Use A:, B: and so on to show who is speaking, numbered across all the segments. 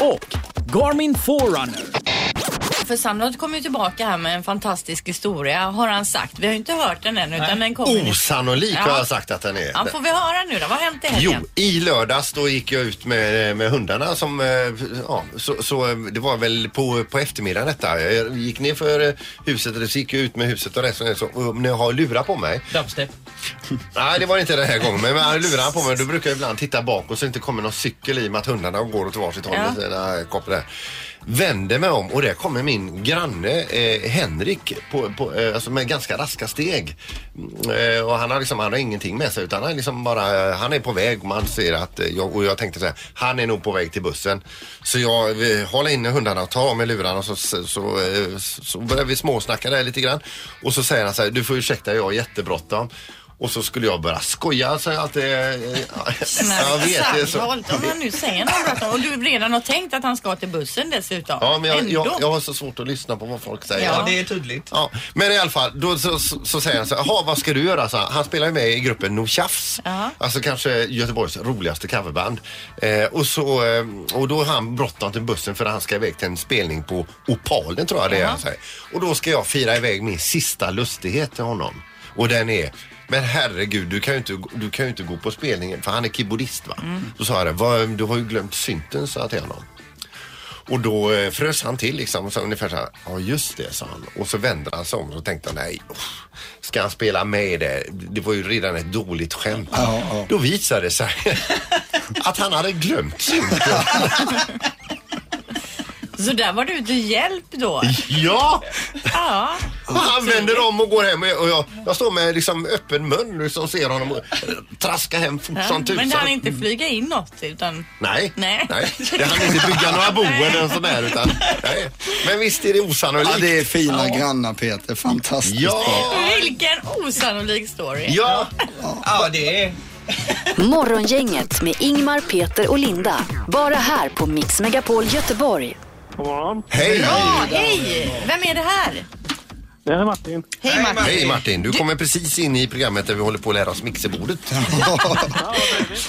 A: och Garmin Forerunner.
B: För Sandholt kommer ju tillbaka här med en fantastisk historia har han sagt. Vi har ju inte hört den än utan den kommer. nu.
C: Osannolik
B: Ja.
C: har jag sagt att den är.
B: Ja, får vi höra nu då? Vad har hänt i
C: Oh, Jo,
B: helgen?
C: i lördags då gick jag ut med, med hundarna som, eh, ja, så, så eh, det var väl på, på eftermiddagen detta. Jag gick ner för eh, huset, eller så gick jag ut med huset och resten så, och när jag har lurat på mig.
D: Dubstep.
C: Nej, det var det inte den här gången, men med lurar på mig då brukar jag ibland titta bak och så inte kommer någon cykel i och med att hundarna går åt varsitt håll
B: Ja.
C: med sina koppar där. Vände mig om och där kommer min granne eh, Henrik på, på, eh, alltså med ganska raska steg. Mm, Eh, och han har, liksom, han har ingenting med sig utan han är, liksom bara, eh, han är på väg. Man ser att, eh, jag, och jag tänkte så här, han är nog på väg till bussen. Så jag eh, håller inne hundarna och tar av mig lurarna och så, så, så, eh, så börjar vi småsnacka där lite grann. Och så säger han så här, du får ursäkta jag har jättebråttom. Och så skulle jag börja skoja så jag alltid... eh, ja, Jag vet det är så.
B: Sandholt, om han nu säger något bråttom och du redan har tänkt att han ska till bussen dessutom.
C: Ja, men jag,
B: Ändå.
C: jag, jag har så svårt att lyssna på vad folk säger.
B: Ja.
C: Ja.
D: Det är tydligt.
C: Men i alla fall, då så, så, så säger han så här, "Jaha, vad ska du göra? Så han, han spelar ju med i gruppen No Tjafs.
B: Ja.
C: Alltså kanske Göteborgs roligaste coverband. Eh, och, så, eh, och då har han bråttom till bussen för han ska iväg till en spelning på Opalen tror jag det är han säger. Och då ska jag fira iväg min sista lustighet till honom. Och den är men herregud, du kan ju inte, du kan ju inte gå på spelningen för han är keyboardist va? Då sa jag det, "Vad, du har ju glömt synten sa jag till honom. Och då eh, frös han till liksom och sa ungefär så här, ja just det sa han. Och så vände han sig om och så tänkte han, nej, uff, ska han spela med i det? Det var ju redan ett dåligt skämt. Då visade det sig att han hade glömt synten.
B: Så där var du till hjälp då.
C: ja!
B: Ja.
C: Och han vänder om och går hem och jag- och jag, jag står med liksom öppen mun och så ser honom och traska hem fort
B: Ja,
C: som tusan.
B: men han inte flyga in något utan...
C: Nej,
B: Nej.
C: Det hann inte bygga några boenden eller sådär utan, nej. Men visst är det osannolikt.
E: Ja, det är fina grannar Peter. Fantastiskt bra.
C: ja.
B: Vilken osannolik story.
C: ja.
D: Ja, det är...
F: Morgongänget med Ingmar, Peter och Linda. Bara här på Mix Megapol Göteborg.
C: Hej!
B: Ja, hej! Vem är det här?
G: Det här är Martin.
B: Hej Martin.
C: Hej Martin, du kommer precis in i programmet där vi håller på att lära oss mixerbordet.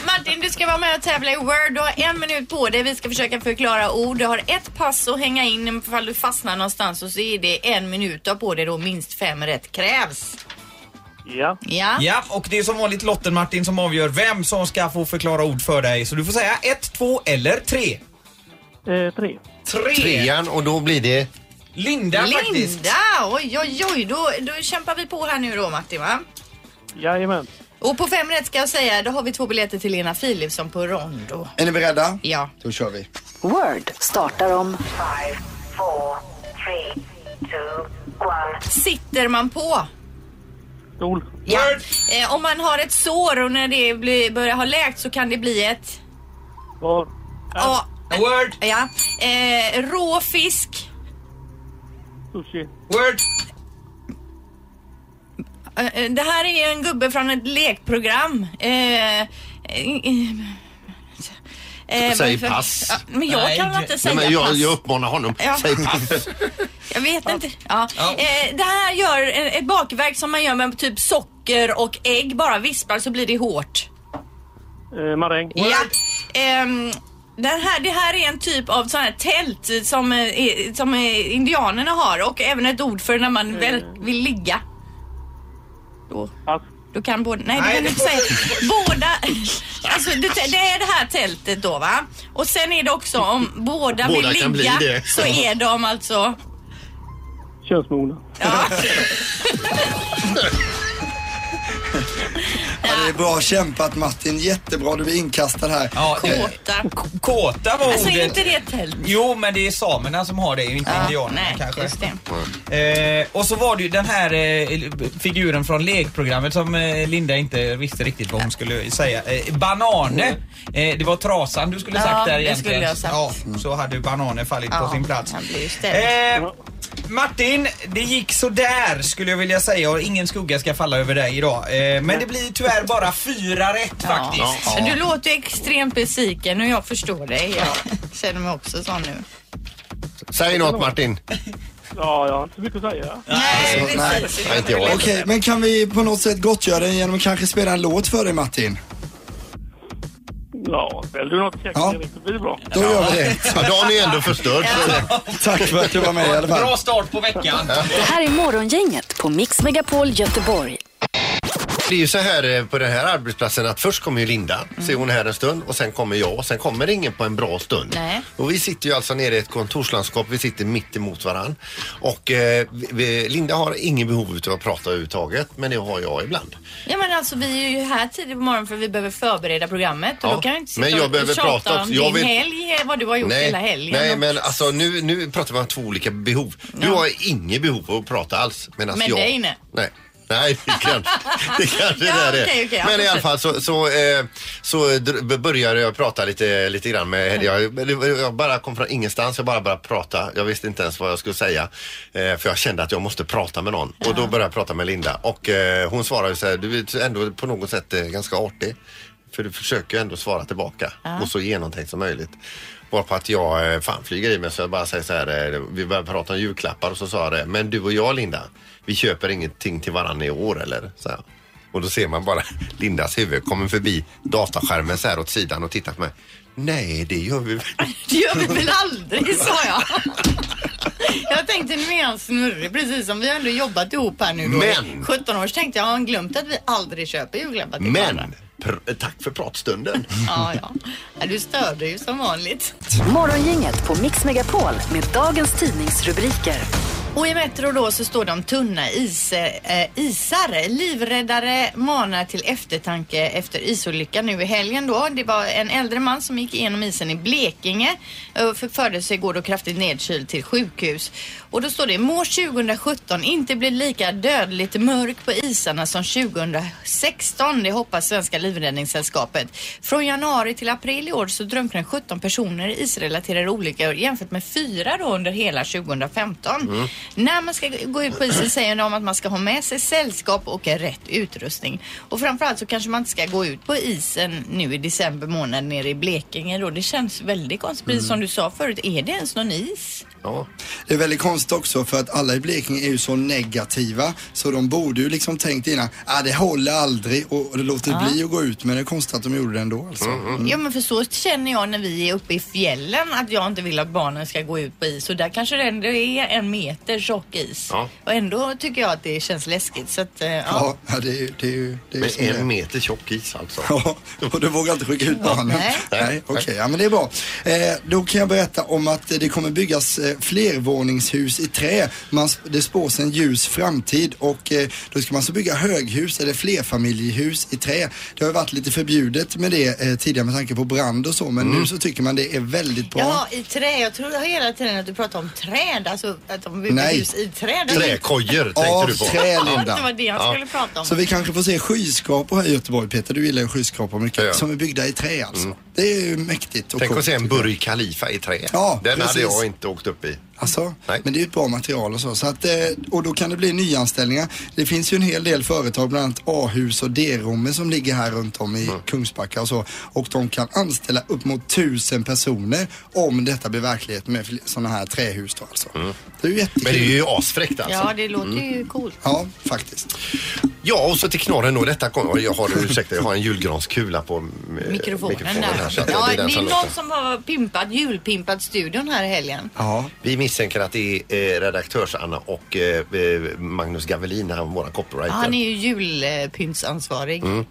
B: Martin, du ska vara med och tävla i Word. Du har en minut på dig. Vi ska försöka förklara ord. Du har ett pass att hänga in ifall du fastnar någonstans och så är det en minut Du har på dig då minst fem rätt krävs.
G: Ja.
B: Ja.
D: Ja, och det är som vanligt lotten Martin som avgör vem som ska få förklara ord för dig. Så du får säga ett, två eller tre.
G: Eh, tre.
D: Tre!
C: Trean och då blir det...
D: Linda, faktiskt.
B: Linda! Oj, oj, oj. Då, då kämpar vi på här nu då Martin va?
G: Jajamän.
B: Och på fem rätt ska jag säga, då har vi två biljetter till Lena Philipsson på Rondo.
E: Är ni beredda?
B: Ja.
E: Då kör vi.
F: Word startar om
B: Sitter man på?
G: Stol.
D: Word.
B: Eh, om man har ett sår och när det blir, börjar ha läkt så kan det bli ett...
G: Var.
B: Ja.
D: Word.
B: ja. Eh, rå fisk.
G: Sushi.
D: Word.
B: Eh, Det här är en gubbe från ett lekprogram. Eh, eh, eh,
C: Säg
B: varför-
C: pass.
B: Ja, men jag
D: Nej,
B: kan väl
D: det-
B: inte säga
C: Nej, men jag,
B: pass.
C: jag uppmanar honom,
B: Ja.
C: säg pass.
B: Jag vet inte. Ja.
D: Ja.
B: Eh, det här gör eh, ett bakverk som man gör med typ socker och ägg. Bara vispar så blir det hårt.
G: Eh, maräng.
B: Ja. Ehm, den här, det här är en typ av sån här tält som, eh, är- som eh, indianerna har och även ett ord för när man väl
C: Mm.
B: vill ligga. Då.
G: Pass.
B: Då kan båda... Nej, det
D: Nej,
B: kan
D: det
B: du inte
D: får
B: säga. Båda... Alltså, det, det är det här tältet då, va? Och sen är det också om
C: Båda
B: båda, vill
C: kan bli
B: ligga
C: det.
B: så är de alltså...
G: Könsmogna.
B: Ja.
C: Ja,
H: det är bra kämpat Martin. Jättebra, du blir inkastad här.
D: Ja, det,
B: Kåta.
D: kåta var
B: Alltså är
D: ordet.
B: inte det tält?
D: Jo, men det är samerna som har det, inte
B: Ja,
D: indianerna
B: nej,
D: kanske.
B: just det.
D: Eh, och så var det ju den här eh, figuren från lekprogrammet som eh, Linda inte visste riktigt vad hon skulle säga. Eh, banane! Eh, det var trasan du skulle
B: Ja,
D: sagt där
B: det
D: egentligen.
B: skulle jag sagt.
D: Ja, så hade bananen fallit
B: Ja,
D: på sin plats.
B: han blir ju ställd.
D: Eh, Martin, det gick så där skulle jag vilja säga och ingen skugga ska falla över dig idag. Eh, men det blir tyvärr bara fyra rätt faktiskt.
B: Men Du låter extremt besviken och jag förstår dig. Jag känner mig också sån nu.
C: Säg något Martin.
G: Ja, jag har inte så mycket att säga.
B: Nej,
H: nej.
B: precis.
C: Nej, inte jag.
H: Okej, men kan vi på något sätt gottgöra dig genom att kanske spela en låt för dig Martin?
G: Ja, välj du något käkt
H: Ja.
G: Erik, så blir det bra.
H: Då gör vi det.
C: Ja, dagen är ändå förstörd.
H: Tack för att du var med i alla fall.
D: Bra start på veckan.
F: Det här är Morgongänget på Mix Megapol Göteborg.
C: Det är ju så här eh, på den här arbetsplatsen att först kommer ju Linda,
B: Mm.
C: så är hon här en stund och sen kommer jag och sen kommer ingen på en bra stund.
B: Nej.
C: Och vi sitter ju alltså nere i ett kontorslandskap, vi sitter mitt emot varann. Och eh, vi- vi, Linda har ingen behov utav att prata överhuvudtaget, men det har jag ibland.
B: Ja men alltså vi är ju här tidigt på morgonen för vi behöver förbereda programmet och
C: Ja,
B: då kan jag inte sitta
C: men jag
B: och
C: behöver
B: tjata
C: prata
B: om
C: också.
B: din
C: Jag vill-
B: helg, eh, vad du har gjort hela helgen.
C: nej men alltså nu, nu pratar vi om två olika behov. Du
B: Ja.
C: har inget behov av att prata alls. Medan
B: Men
C: jag...
B: dig, nej.
C: Nej. Nej, det kanske det kanske
B: Ja,
C: där är.
B: okej, okej, ja,
C: men i alla
B: precis.
C: fall så, så, eh, så dr- b- började jag prata lite, lite grann med jag,
B: Mm.
C: jag bara kom från ingenstans, jag bara började prata. Jag visste inte ens vad jag skulle säga. Eh, för jag kände att jag måste prata med någon. Och då började jag prata med Linda. Och eh, hon svarade så här, du är ändå på något sätt eh, ganska artig. För du försöker ju ändå svara tillbaka och så genomtänkt som möjligt. Varpå att jag eh, fan flyger i mig så jag bara säger så här, eh, vi började prata om julklappar och så sa jag det, men du och jag Linda, vi köper ingenting till varandra i år eller? Så här. Och då ser man bara Lindas huvud kommer förbi dataskärmen så här åt sidan och tittar på mig. Nej, det gör vi väl
B: Det gör vi väl aldrig sa jag. Jag tänkte nu är han snurrig precis som vi har ändå jobbat ihop här nu då.
C: Men-
B: i 17 år så tänkte jag, har han glömt att vi aldrig köper julklappar till varandra?
C: Men pr- tack för pratstunden.
B: Ja, ja. ja. Du störde ju som vanligt.
F: Morgongänget på Mix Megapol med dagens tidningsrubriker.
B: Och i Metro då så står det om tunna is, eh, isar. Livräddare manar till eftertanke efter isolyckan nu i helgen då. Det var en äldre man som gick igenom isen i Blekinge eh, och förförde sig igår då kraftigt nedkyld till sjukhus. Och då står det, må 2017 inte bli lika dödligt mörk på isarna som 2016. Det hoppas Svenska Livräddningssällskapet. Från januari till april i år så drunknade 17 personer i isrelaterade olyckor jämfört med fyra då under hela 2015. När man ska gå ut på isen säger de att man ska ha med sig sällskap och rätt utrustning. Och framförallt så kanske man inte ska gå ut på isen nu i december månad nere i Blekinge då. Det känns väldigt konstigt. Precis som du sa förut, är det ens någon is?
C: Ja.
H: Det är väldigt konstigt också för att alla i Blekinge är ju så negativa så de borde ju liksom tänkt innan, ah, det håller aldrig och och det låter bli att gå ut men det är konstigt att de gjorde det ändå alltså.
C: Mm.
B: Ja men för så känner jag när vi är uppe i fjällen att jag inte vill att barnen ska gå ut på is och där kanske det ändå är en meter tjock is.
C: Ja.
B: Och ändå tycker jag att det känns läskigt så att eh, ja.
H: Ja, ja, det är ju... Det är, ju- det är ju
C: Med
H: som det är.
C: en meter tjock is alltså.
H: Ja, och du vågar inte skicka ut barnen?
B: Nej.
H: Nej, okej. Ja, men det är bra. Eh, då kan jag berätta om att eh, det kommer byggas eh, flervåningshus i trä. Man, sp- det spås en ljus framtid och eh, då ska man så bygga höghus eller flerfamiljehus i trä. Det har ju varit lite förbjudet med det eh, tidigare med tanke på brand och så, men
C: Mm.
H: nu så tycker man det är väldigt bra.
B: Jaha, i trä. Jag tror hela tiden att du pratar om träd, alltså att de bygger
H: Nej.
B: hus i träd.
C: Träkojor tänkte
H: Av
C: du på.
H: trä,
B: Ja, det var
H: Linda.
B: det jag
C: Ja.
B: skulle prata om.
H: Så vi kanske får se skyskrapor här i Göteborg, Peter. Du gillar ju skyskrapor mycket.
C: Ja. Mm.
H: Som är byggda i trä alltså. Det är ju mäktigt och
C: Tänk
H: coolt,
C: att se en
H: tycker jag.
C: Burj Khalifa i trä.
H: Ja,
C: Den hade
H: precis.
C: jag inte åkt upp i.
H: Alltså,
C: Nej.
H: men det är ju ett bra material och så. så att, eh, och då kan det bli nyanställningar. Det finns ju en hel del företag, bland annat A-hus och D-Romme som ligger här runt om i
C: Mm.
H: Kungsbacka och så. Och de kan anställa upp mot tusen personer om detta blir verklighet med sådana här trähus då alltså. Det är ju jättekul.
C: Mm. Men det är ju asfräckt alltså.
B: Ja, det låter ju coolt.
H: Ja, faktiskt.
C: Ja, och så till knorren då. Detta kom, oj, jag har, ursäkta, jag har en julgranskula på eh,
B: Mikrofonen,
C: mikrofonen
B: där.
C: här, så att
B: ja,
C: det är
B: det
C: den
B: är
C: som
B: någon
C: låter.
B: som har pimpat, julpimpat studion här i helgen.
H: Ja.
C: Vi misstänker att det är eh, redaktörs-Anna och eh, eh, Magnus Gavelin, han våran copywriter.
B: Han är ju julpyntsansvarig.
C: Mm.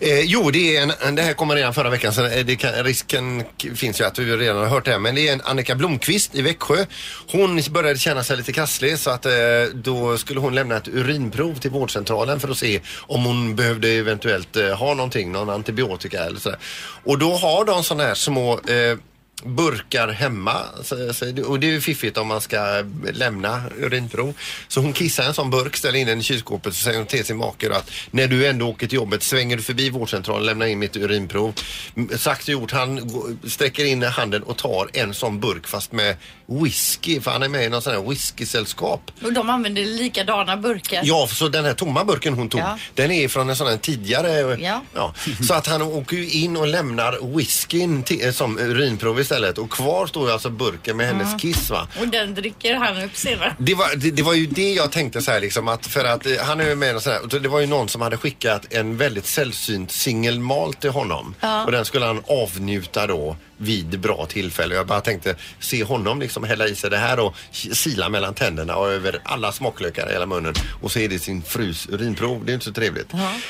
C: Eh, jo, det, är en- en, det här kommer redan förra veckan så eh, det kan, risken k- finns ju att du redan har hört det här. Men det är en Annika Blomqvist i Växjö. Hon började känna sig lite krasslig så att eh, då skulle hon lämna ett urinprov till vårdcentralen för att se om hon behövde eventuellt eh, ha någonting, någon antibiotika eller sådär. Och då har de sådana här små eh, burkar hemma så, så, och det är ju fiffigt om man ska lämna urinprov. Så hon kissar i en sån burk, ställer in den i kylskåpet och säger hon till sin make då att när du ändå åker till jobbet svänger du förbi vårdcentralen lämnar in mitt urinprov. M- Sagt och gjort, han gå- sträcker in handen och tar en sån burk fast med whisky för han är med i någon sån här whiskysällskap.
B: Och de använder likadana burkar.
C: Ja, för så den här tomma burken hon tog,
B: Ja.
C: den är från en sån här tidigare. eh,
B: Ja.
C: Så att han åker ju in och lämnar whiskyn till, eh, som urinprov istället och kvar står ju alltså burken med hennes kiss va.
B: Och den dricker han upp senare.
C: Det var, det, det var ju det jag tänkte så här liksom att för att eh, han är ju med och så här, och det var ju någon som hade skickat en väldigt sällsynt singelmal till honom och den skulle han avnjuta då vid bra tillfälle. Jag bara tänkte se honom liksom hälla i sig det här och ki- sila mellan tänderna och över alla smaklökar i hela munnen och så är det sin frus urinprov. Det är inte så trevligt.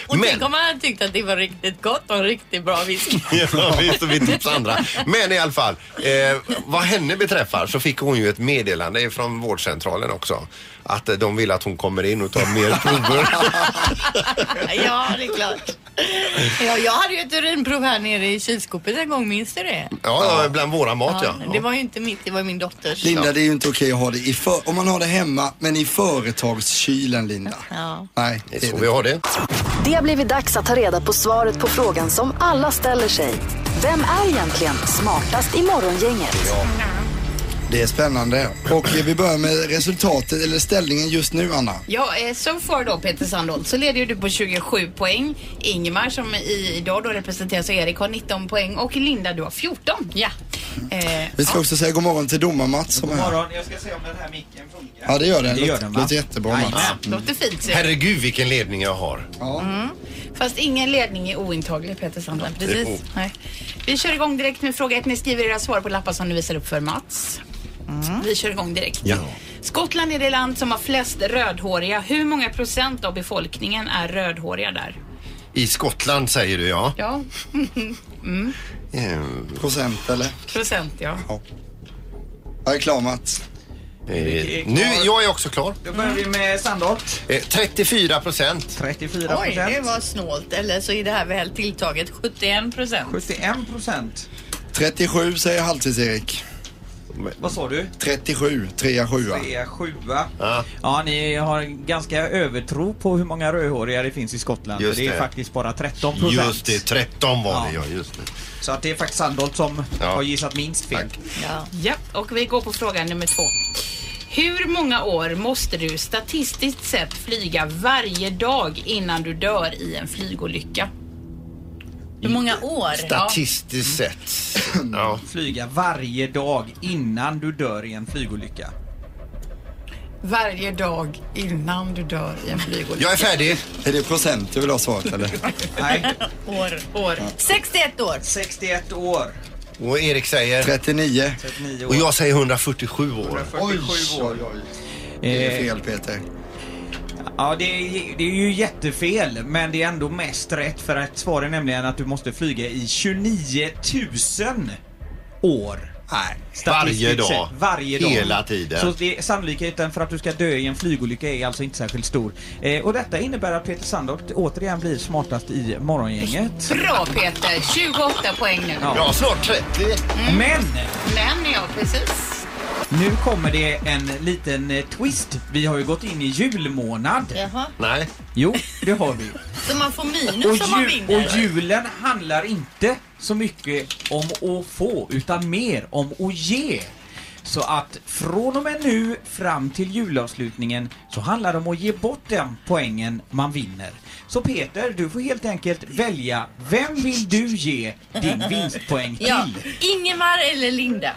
B: Och tänk om han tyckte att det var riktigt gott och en riktigt bra whisky.
C: Ja, visst, och vi tipsar andra. Men i alla fall, eh, vad henne beträffar så fick hon ju ett meddelande från vårdcentralen också. Att eh, de vill att hon kommer in och tar mer prover.
B: ja, det är klart. Ja, jag hade ju ett urinprov här nere i kylskåpet en gång, minns du det?
C: ja, ja, bland våra mat ja.
B: Det var ju inte mitt, det var min dotters.
H: Linda, det är ju inte okej att ha det i för... Om man har det hemma, men i företagskylen, Linda.
B: Ja.
H: Nej,
C: Det är så vi har det.
F: Det har blivit dags att ta reda på svaret på frågan som alla ställer sig. Vem är egentligen smartast i morgongänget?
H: det är spännande. Och eh, vi börjar med resultatet, eller ställningen just nu, Anna.
I: Ja, eh, så far då Peter Sandholt så leder ju du på 27 poäng. Ingmar som i- idag då representeras av Erik har 19 poäng och Linda du har 14. Ja.
B: Mm.
I: Eh,
H: Vi ska också säga god morgon till domar-Mats som är här.
D: jag ska se om den här micken funkar.
H: Ja, det gör den.
D: Det gör den, va?
H: Låter jättebra, Mats.
I: ja, låter fint. Så.
C: Herregud vilken ledning jag har.
H: Ja.
I: Fast ingen ledning är ointaglig Peter Sandholt. Precis.
C: Jo.
I: Nej. Vi kör igång direkt med fråga ett. Ni skriver era svar på lappar som ni visar upp för Mats.
B: Mm.
I: Vi kör igång direkt.
C: Ja.
I: Skottland är det land som har flest rödhåriga. Hur många procent av befolkningen är rödhåriga där?
C: I Skottland säger du ja.
I: Ja,
C: Ehm,
H: Procent, eller?
I: procent ja.
H: Jag är klar, Mats.
C: Eh, nu, jag är också klar.
D: Då börjar vi med Sandholt.
C: Eh, 34 procent.
D: 34
B: Oj, det
D: procent.
B: var snålt. Eller så är det här väl tilltaget 71 procent.
D: 71 procent.
H: 37 säger halvtids-Erik.
D: Vad sa du?
H: 37, 3 7
D: Det är sjua.
C: Ja.
D: Ja, ni har en ganska övertro på hur många rödhåriga det finns i Skottland.
C: Just
D: för det är
C: det.
D: faktiskt bara 13 procent.
C: Just det, 13 var det ja. Just det.
D: Så att det är faktiskt Sandholt som
C: Ja.
D: har gissat minst fel.
C: Tack.
I: Ja, och vi går på fråga nummer två. Hur många år måste du statistiskt sett flyga varje dag innan du dör i en flygolycka?
B: Hur många år?
C: Statistiskt sett. Ja.
D: Flyga varje dag innan du dör i en flygolycka.
B: Varje dag innan du dör i en flygolycka.
C: Jag är färdig.
H: Är det procent du vill ha svaret, eller?
D: Nej,
B: År. år. 61 år.
D: 61 år.
C: Och Erik säger.
H: 39.
D: 39 år.
C: Och jag säger 147 år.
D: 47 år.
H: Det är
D: Eh,
H: fel, Peter.
D: Ja, det är, det är ju jättefel, men det är ändå mest rätt för att svaret är nämligen att du måste flyga i 29 000 år.
H: Nej.
D: Statistiskt
C: Varje dag.
D: sett. Varje dag.
C: Hela tiden.
D: Så det, sannolikheten för att du ska dö i en flygolycka är alltså inte särskilt stor. Eh, och detta innebär att Peter Sandholt återigen blir smartast i morgongänget.
I: Bra Peter! 28 poäng nu.
D: Ja.
C: Ja, snart 30.
D: Men!
I: Men ja, precis.
D: Nu kommer det en liten eh, twist. Vi har ju gått in i julmånad.
B: Jaha.
C: Nej.
D: Jo, det har vi.
B: Så man får
D: Och,
B: minus om man
D: ju,
B: vinner?
D: och julen handlar inte så mycket om att få, utan mer om att ge. Så att från och med nu fram till julavslutningen så handlar det om att ge bort den poängen man vinner. Så Peter, du får helt enkelt välja vem vill du ge din vinstpoäng till?
B: Ja. Ingemar eller Linda?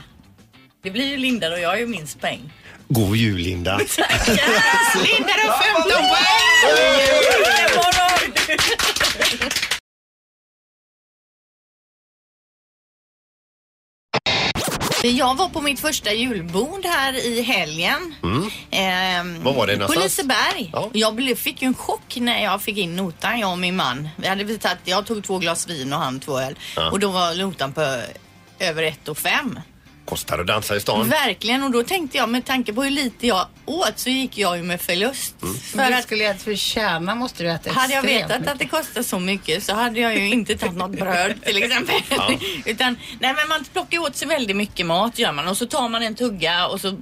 B: Det blir ju Linda då, jag har ju minst poäng.
C: God jul Linda.
I: Linda du har 15 poäng!
B: Jag var på mitt första julbord här i helgen.
C: Mm.
B: Ehm,
C: Var var det
B: På
C: någonstans?
B: Liseberg.
C: Ja.
B: Jag blev, fick ju en chock när jag fick in notan, jag och min man. Vi hade betalt, jag tog två glas vin och han två öl.
C: Ja.
B: Och då var notan på över ett och fem.
C: Kostar att dansa i stan.
B: Verkligen och då tänkte jag med tanke på hur lite jag åt så gick jag ju med förlust.
G: Mm.
B: För att skulle jag förtjäna måste du äta Hade jag
I: extremt
B: vetat att det kostar så mycket så hade jag ju inte tagit något bröd till exempel.
I: Ja.
B: Utan, nej men man plockar åt sig väldigt mycket mat gör man och så tar man en tugga och så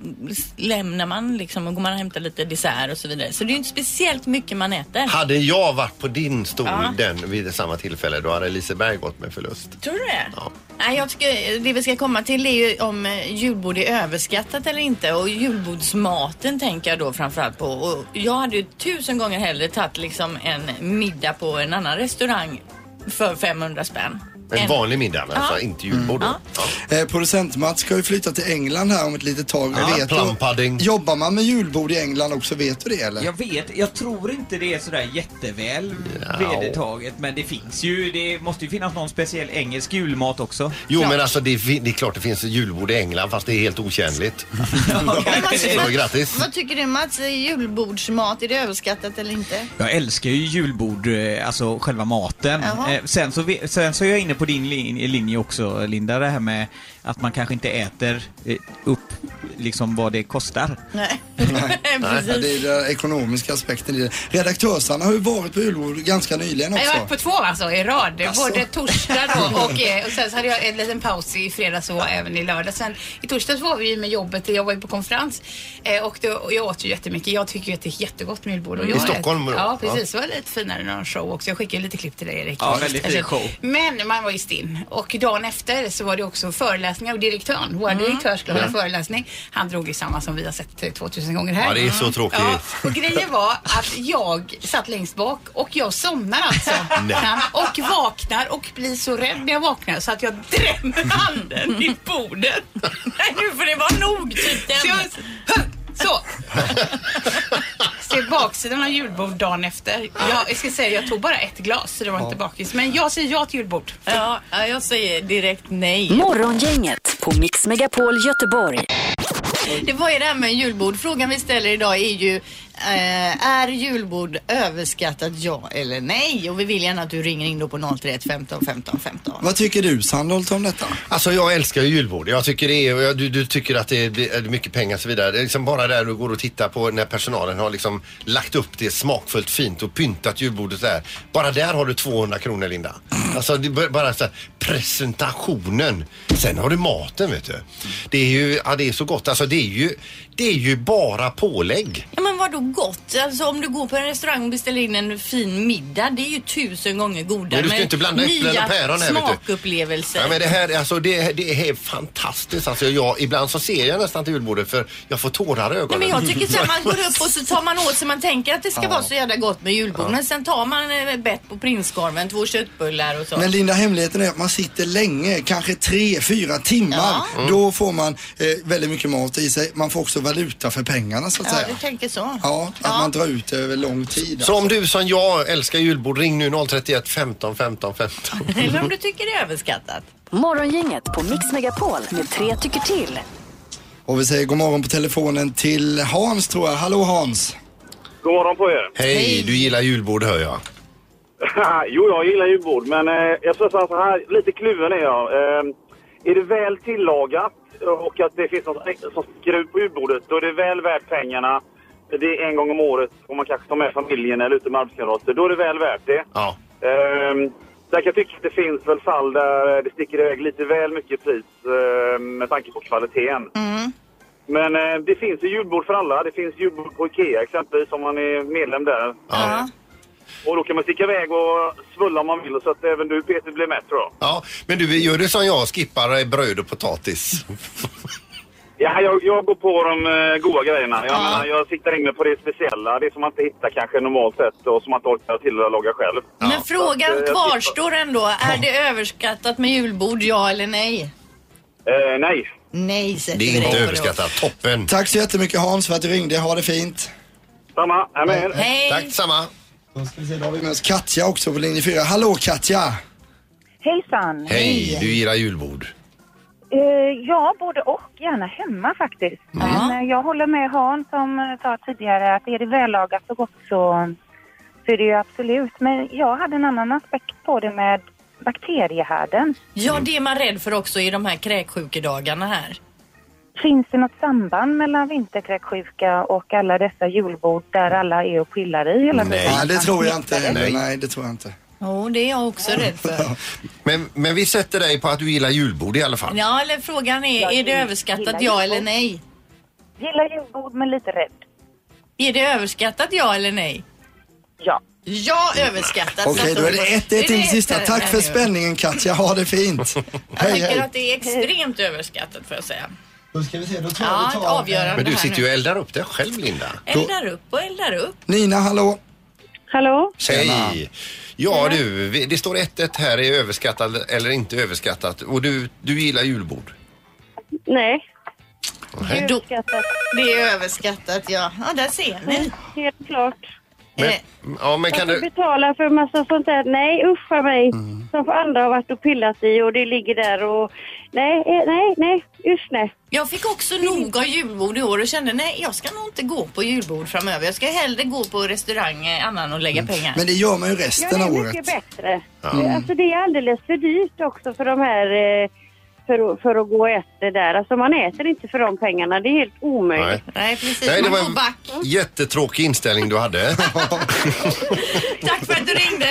B: lämnar man liksom och går man och hämtar lite dessert och så vidare. Så det är ju inte speciellt mycket man äter.
C: Hade jag varit på din stol
B: Ja.
C: den vid samma tillfälle då hade Liseberg gått med förlust.
B: Tror du det? Nej, jag tycker Eh, det vi ska komma till är ju om eh, julbord är överskattat eller inte. Och julbordsmaten tänker jag då framförallt på. Och jag hade ju tusen gånger hellre tagit liksom en middag på en annan restaurang för 500 spänn.
C: En
B: Än-
C: vanlig middag alltså,
B: Ja.
C: inte julbord. då.
H: Eh, producent Mats ska ju flytta till England här om ett litet tag.
C: Ja,
H: Vet du-
C: plumpudding.
H: jobbar man med julbord i England också? Vet du det eller?
D: Jag vet, jag tror inte det är sådär jätteväl vedertaget, men det finns ju, det måste ju finnas någon speciell engelsk julmat också.
C: Jo men alltså det, fi- det är klart det finns julbord i England fast det är helt otjänligt. Så grattis.
B: Vad tycker du Mats? Julbordsmat, är det överskattat eller inte?
D: Jag älskar ju julbord, eh, alltså själva maten.
B: Jaha.
D: Eh, Sen så, vi- sen så är jag inne på din lin- linje också Linda, det här med att man kanske inte äter eh, upp liksom vad det kostar.
B: Nej.
H: Nej,
B: Precis.
H: det är den ekonomiska aspekten i det. Redaktörsarna har ju varit på julbord ganska nyligen
I: Jag har
H: också.
I: varit på två alltså i rad.
H: Alltså.
I: Både torsdag då och, eh, och sen så hade jag en liten paus i fredags och även i lördag. Sen i torsdags var vi ju med jobbet. Jag var ju på konferens eh, och, då, och jag åt ju jättemycket. Jag tycker ju att det är jättegott med julbord. Och
C: Mm. I
I: jag
C: Stockholm då?
I: Ät, ja,
C: Ja.
I: precis. Det var lite finare än någon show också. Jag skickade ju lite klipp till dig Erik. Alltså,
C: Ja, väldigt fin show.
I: Men man var ju stinn. Och dagen efter så var det också föreläsningar av direktören. Vår direktör skulle hålla
C: Mm. Ja.
I: föreläsning. Han drog ju samma som vi har sett eh, 2000 gånger här.
C: Ja det är så tråkigt.
I: Ja, och grejen var att jag satt längst bak och jag somnar alltså.
C: Nej.
I: Och vaknar och blir så rädd när jag vaknar så att jag drämmer handen i bordet. Nej, nu får det vara nog typ Så, jag, så. Ser baksidan av julbord dagen efter. Jag, jag ska säga, jag tog bara ett glas så det var inte bakis. Men jag säger ja till julbord.
B: Ja, jag säger direkt nej.
F: Morgongänget på Mix Megapol Göteborg.
B: Det var ju det här med julbord. Frågan vi ställer idag är ju eh, Är julbord överskattat ja eller nej? Och vi vill gärna att du ringer in då på 031 15 15 15.
H: Vad tycker du Sandholt om detta?
C: Alltså jag älskar ju julbord. Jag tycker det är, och jag- du, du tycker att det är, det är mycket pengar och så vidare. Det är liksom bara där du går och tittar på när personalen har liksom lagt upp det smakfullt fint och pyntat julbordet där. Bara där har du 200 kronor Linda. Alltså det är b- bara så här, presentationen. Sen har du maten vet du. Det är ju, ja, det är så gott. Alltså det är ju, det är ju bara pålägg.
B: Ja men vadå gott? Alltså om du går på en restaurang och beställer in en fin middag, det är ju tusen gånger godare.
C: Men du ska
B: med
C: inte blanda äpplen
B: nya
C: och päron här, vet du.
B: smakupplevelser.
C: Ja, men det här alltså, det, det är fantastiskt. Alltså, jag, ibland så ser jag nästan till julbordet för jag får tårar i ögonen.
B: Nej, men jag tycker så här, man går upp och så tar man åt sig, man tänker att det ska
C: Ja.
B: vara så jävla gott med julbord.
C: Ja.
B: Men sen tar man eh, bett på prinskorven, två köttbullar och så.
H: Men Linda, hemligheten är att man sitter länge, kanske tre, fyra timmar.
B: Ja. Mm.
H: Då får man eh, väldigt mycket mat i sig. Man får också valuta för pengarna så att
B: ja,
H: säga.
B: du tänker så.
H: Ja, att man drar ut det över lång tid.
C: Så om du som jag älskar julbord, ring nu 031 15 15 15.
B: Eller om du tycker det är överskattat.
F: Morgongänget på Mix Megapol med tre tycker till.
H: Och vi säger god morgon på telefonen till Hans tror jag. Hallå Hans!
J: God morgon på er.
C: Hej, du gillar julbord hör jag.
J: jo, jag gillar ju bord, men eh, jag skulle säga så här, lite kluven är jag. Eh, är det väl tillagat och att det finns något som skruv på julbordet, då är det väl värt pengarna. Det är en gång om året och man kanske tar med familjen eller ute med arbetskamrater. Då är det väl värt det.
C: Ja.
J: Ehm, där kan jag tycka att det finns väl fall där det sticker iväg lite väl mycket pris eh, med tanke på kvaliteten. Men eh, det finns ju julbord för alla. Det finns julbord på Ikea exempelvis om man är medlem där. Och då kan man sticka iväg och svulla om man vill så att även du Peter blir mätt tror jag.
C: Ja, men du gör det som jag, skippar eh, bröd och potatis.
J: Ja, jag, jag går på de eh, goda grejerna. Jag, menar, jag siktar in mig på det speciella. Det som man inte hittar kanske normalt sett och som man inte orkar till att laga själv.
B: Men
J: Så
B: frågan
J: att, eh, jag
B: kvarstår ändå. Är det överskattat med julbord, ja eller nej?
J: tippar- Eh, nej.
B: Nej, sätter
C: Det
B: vi
C: är
B: dig
C: inte
B: på
C: överskattat. Toppen!
H: Tack så jättemycket Hans för att du ringde. Ha det fint.
J: Samma. Jag
B: med. Hej.
C: Tack samma.
H: Då har vi med oss Katja också på linje 4. Hallå Katja!
K: Hejsan!
C: Hej, du gillar julbord.
K: Eh, ja, både och. Gärna hemma faktiskt. Men eh, jag håller med Hans som eh, sa tidigare att är det vällagat så gott så, så är det ju absolut. Men jag hade en annan aspekt på det med bakteriehärden.
B: Ja, det är man rädd för också i de här kräksjukedagarna här.
K: Finns det något samband mellan vinterkräksjuka och alla dessa julbord där alla är och pillar i hela tiden?
H: Nej, det tror jag inte heller.
C: Nej.
H: Nej. det tror jag inte.
B: Jo, det är jag också rädd för.
C: Men, men vi sätter dig på att du gillar julbord i alla fall.
B: Ja, eller frågan är, är det överskattat
K: gillar
B: ja
K: julbord.
B: eller nej?
K: Gillar julbord men lite rädd.
B: Är det överskattat ja eller nej?
K: Ja.
B: Ja, överskattat.
H: Okej, då är det 1-1 till Alltså, det sista.
B: ett
H: Tack
B: här
H: för
B: nu.
H: spänningen Katja, ha det fint.
B: Jag
H: Hej,
B: tycker
H: hej.
B: att det är extremt överskattat får jag säga.
H: Då ska vi se, då tar
B: ja,
H: vi
B: ett
H: tar-
B: avgörande
C: Men du
B: här
C: sitter
B: nu.
C: ju och eldar upp dig själv Linda.
B: Eldar upp och eldar upp.
H: Nina, hallå.
K: Hallå?
C: Hej! Ja du, vi- det står 1-1 här, är överskattat eller inte överskattat. Och du, du gillar julbord.
K: Nej.
C: Nej.
K: Överskattat.
B: Det är överskattat ja. Ja, där ser ni.
K: Helt klart.
C: Men,
B: Eh.
C: ja, men kan
K: Varför
C: du...
K: betala för massa sånt där? Nej, uscha mig. Som för andra har varit och pillat i och det ligger där och... Nej, eh, nej, nej, usch nej.
B: Jag fick också nog av julbord i år och kände nej, jag ska nog inte gå på julbord framöver. Jag ska hellre gå på restaurang eh, annan och
C: Mm.
B: lägga pengar.
H: Men det gör man ju
K: Ja,
H: resten
K: det
H: av
K: är
H: året.
K: mycket bättre.
H: Ja.
K: Det- Alltså det är alldeles för dyrt också för de här... eh, För, för att gå och äta det där. Alltså man äter inte för de pengarna. Det är helt omöjligt.
C: Nej.
B: Nej, precis.
C: Nej, det
B: Man
C: var
B: går
C: en
B: back.
C: jättetråkig inställning du hade.
B: Tack för att du ringde.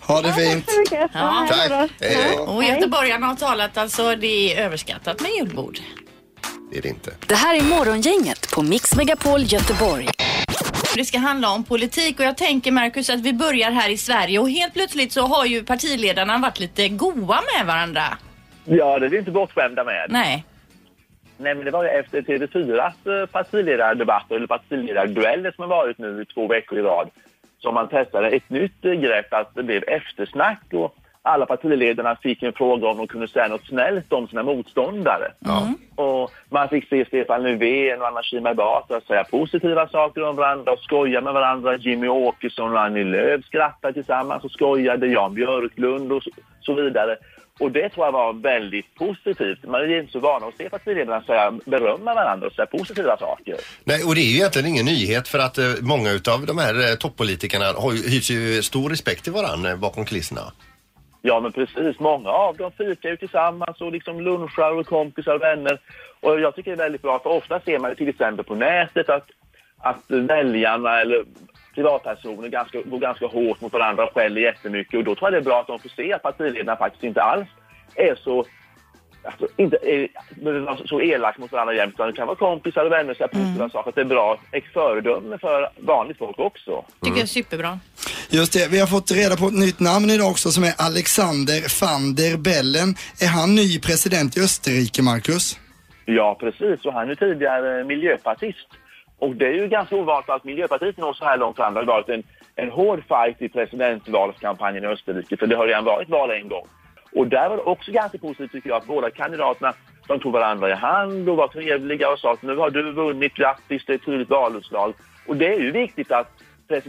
H: Ha det fint.
K: Tack så mycket.
B: Ja.
C: Tack. Hej, hej.
B: Och göteborgarna har talat alltså, det är överskattat med julbord.
C: Det är det inte.
F: Det här är Morgongänget på Mix Megapol Göteborg.
B: Det ska handla om politik och jag tänker Marcus att vi börjar här i Sverige och helt plötsligt så har ju partiledarna varit lite goa med varandra.
L: Ja, det är vi inte bortskämda med.
B: Nej.
L: Nej, men det var ju efter TV4s eh, partiledardebatt, eller partiledardueller som har varit nu i två veckor i rad, som man testade ett nytt eh, grepp, att det blev eftersnack och alla partiledarna fick en fråga om de kunde säga något snällt om sina motståndare. Och man fick se Stefan Löfven och Anna Kinberg Batra säga positiva saker om varandra och skoja med varandra. Jimmy Åkesson och Annie Lööf skrattade tillsammans och skojade. Jan Björklund och så- så vidare. Och det tror jag var väldigt positivt. Man är ju inte så van att se partiledarna säga, berömma varandra och säga positiva saker.
C: Nej, och det är ju egentligen ingen nyhet för att eh, många utav de här eh, toppolitikerna har ju, hyser ju stor respekt till varandra bakom kulisserna.
L: Ja, men precis. Många av dem fikar ju tillsammans och liksom lunchar och kompisar och vänner. Och jag tycker det är väldigt bra, för ofta ser man ju till exempel på nätet att, att väljarna eller privatpersoner ganska, går ganska hårt mot varandra och skäller jättemycket. Och då tror jag det är bra att de får se att partiledarna faktiskt inte alls är så Alltså, inte är, behöver vara så elak mot varandra jämt, utan det kan vara kompisar och vänner och säga positiva saker. Att det är bra ett föredöme för vanligt folk också.
B: Tycker
C: Mm.
B: jag är superbra.
H: Just det, vi har fått reda på ett nytt namn idag också som är Alexander van der Bellen. Är han ny president i Österrike, Marcus?
L: Ja, precis. Och han är ju tidigare miljöpartist. Och det är ju ganska ovanligt att Miljöpartiet når så här långt fram. Det har varit en, en hård fight i presidentvalskampanjen i Österrike, för det har redan varit val en gång. Och där var det också ganska positivt tycker jag att båda kandidaterna de tog varandra i hand och var trevliga och sa att nu har du vunnit, grattis, det är ett tydligt valutslag. Och det är ju viktigt att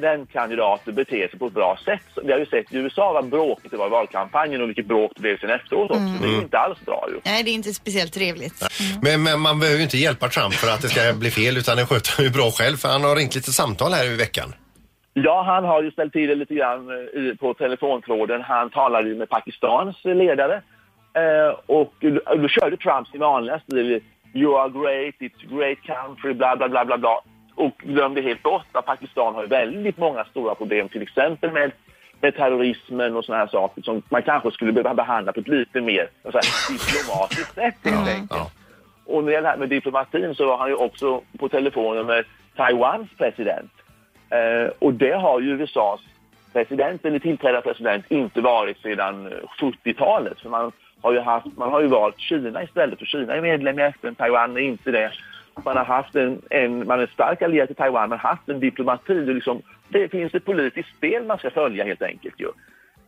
L: presidentkandidater beter sig på ett bra sätt. Så Vi har ju sett i USA vad bråkigt det var i valkampanjen och vilket bråk det blev sen efteråt också. Det är ju inte alls bra ju.
B: Nej, det är inte speciellt trevligt.
C: Men, men man behöver ju inte hjälpa Trump för att det ska bli fel utan det sköter han ju bra själv för han har ringt lite samtal här i veckan.
L: Ja, han har ju ställt till det lite grann eh, i- på telefontråden. Han talade ju med Pakistans ledare eh, och då- då körde Trump sin vanliga stil. You are great, it's a great country, bla bla bla bla bla. Och glömde helt bort att Pakistan har ju väldigt många stora problem, till exempel med, med terrorismen och sådana här saker som man kanske skulle behöva behandla på ett lite mer så här, diplomatiskt sätt helt
B: Mm.
C: Mm.
L: enkelt. Och när det gäller det här med diplomatin så var han ju också på telefonen med Taiwans president. Eh, och det har ju USAs president, eller tillträdda president, inte varit sedan eh, 70-talet. För man har, ju haft, man har ju valt Kina istället, för Kina är medlem i FN, Taiwan är inte det. Man har haft en, en man är stark allierad till Taiwan, man har haft en diplomati. Och liksom, det finns ett politiskt spel man ska följa helt enkelt ju.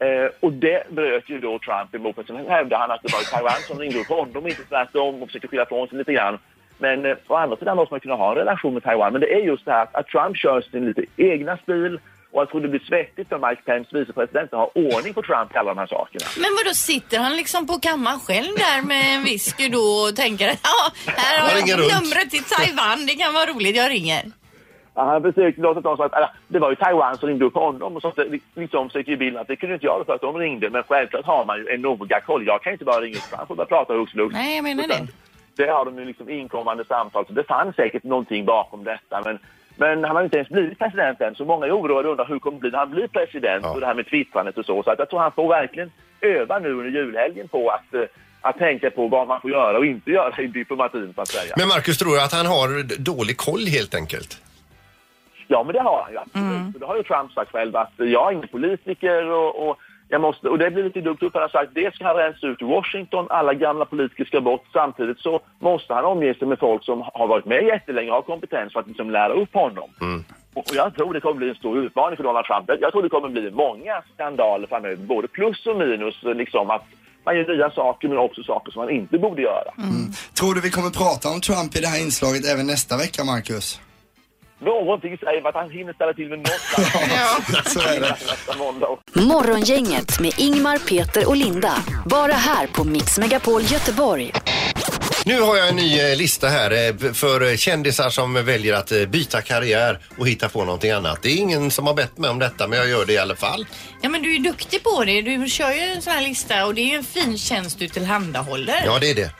L: Eh, och det bröt ju då Trump emot. Men sen hävdade han att det var Taiwan som ringde upp honom, inte tvärtom, och försökte skylla ifrån sig lite grann. Men eh, å andra sidan måste man kunna ha en relation med Taiwan. Men det är just det här att, att Trump kör sin lite egna stil Och jag tror det blir svettigt om Mike Pence, vicepresident, har ordning på Trump i alla de här sakerna.
B: Men vadå, sitter han liksom på kammaren själv där med en whisky då och tänker att ja, här
L: Jag
B: har
L: ringer
B: jag
L: runt."
B: numret till Taiwan, det kan vara roligt, jag ringer.
L: Ja, han försökte låta dem som att "Ah, det var ju Taiwan som ringde upp honom och sånt där. Liksom försökte ju bilden att det kunde inte jag för att de ringde. Men självklart har man ju en noga koll. Jag kan ju inte bara ringa upp Trump och bara prata hux flux.
B: Nej, jag menar det.
L: Det har de ju liksom inkommande samtal. Så det fanns säkert någonting bakom detta. Men, men han har ju inte ens blivit president än. Så många är oroade och undrar hur kommer det bli när han blir president och det här med twittrandet och så. Så att jag tror han får verkligen öva nu under julhelgen på att, eh, att tänka på vad man får göra och inte göra i diplomatin så att säga.
C: Men Marcus, tror du att han har d- dålig koll helt enkelt?
L: Ja, men det har han ju absolut. Och Det har ju Trump sagt själv att jag är ingen politiker och, och jag måste, och det blir lite dumt upp. Han har sagt det ska han rensa ut i Washington, alla gamla politiker ska bort. Samtidigt så måste han omge sig med folk som har varit med jättelänge och har kompetens för att liksom lära upp honom.
H: Mm.
L: Och och jag tror det kommer bli en stor utmaning för Donald Trump. Jag tror det kommer bli många skandaler framöver, både plus och minus. Liksom att man gör nya saker men också saker som man inte borde göra.
H: Tror du vi kommer prata om Trump i det här inslaget även nästa vecka, Marcus?
L: Någonting säger mig att han hinner ställa till med något.
H: Så är det.
L: Nästa måndag också.
F: Morgongänget med Ingmar, Peter och Linda. Bara här på Mix Megapol Göteborg.
C: Nu har jag en ny eh, lista här eh, b- för eh, kändisar som väljer att eh, byta karriär och hitta på någonting annat. Det är ingen som har bett mig om detta men jag gör det i alla fall.
B: Ja men du är ju duktig på det, du kör ju en sån här lista och det är ju en fin tjänst du tillhandahåller.
C: Ja, det är det.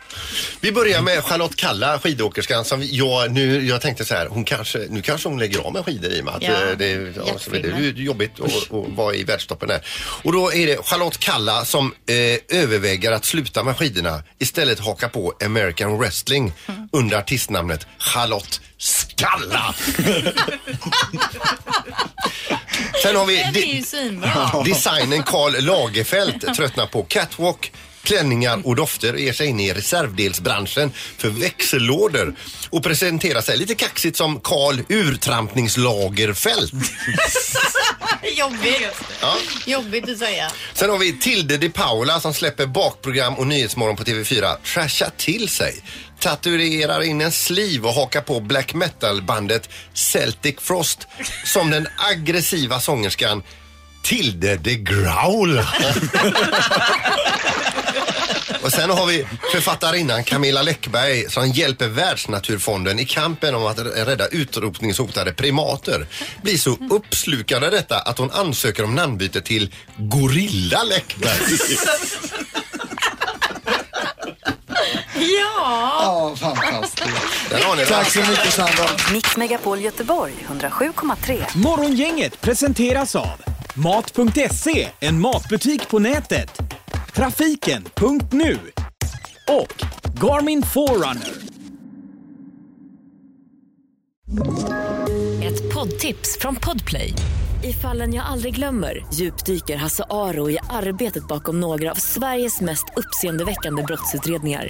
C: Vi börjar med Charlotte Kalla, skidåkerskan som jag nu, jag tänkte så här, hon kanske, nu kanske hon lägger av med skidor i och med att
B: Ja,
C: eh, det, är- ja, så blir det är ju jobbigt att att vara i världstoppen där. Och då är det Charlotte Kalla som eh, överväger att sluta med skidorna, istället haka på American wrestling under artistnamnet Charlotte Skalla. Sen har vi...
B: Den är ju svinbra.
C: Designen Karl Lagerfeld tröttnar på catwalk, klänningar och dofter och ger sig in i reservdelsbranschen för växellådor och presenterar sig lite kaxigt som Karl Urtrampningslagerfeld.
B: Jobbigt.
C: Ja.
B: Jobbigt att säga.
C: Sen har vi Tilde de Paula som släpper bakprogram och Nyhetsmorgon på TV4. Trasha till sig. Tatuerar in en sliv och hakar på black metal-bandet Celtic Frost som den aggressiva sångerskan Tilde de Graula. Och sen har vi författarinnan Camilla Läckberg som hjälper Världsnaturfonden i kampen om att rädda utrotningshotade primater. Blir så uppslukad av detta att hon ansöker om namnbyte till Gorilla Läckberg.
B: Ja.
H: Ja, fantastiskt.
C: Där har ni det.
H: Tack så mycket, Sandra.
F: Mix Megapol Göteborg 107,3.
A: Morgongänget presenteras av Mat.se, en matbutik på nätet. Trafiken.nu och Garmin Forerunner.
M: Ett poddtips från Podplay. I fallen jag aldrig glömmer djupdyker Hasse Aro i arbetet bakom några av Sveriges mest uppseendeväckande brottsutredningar.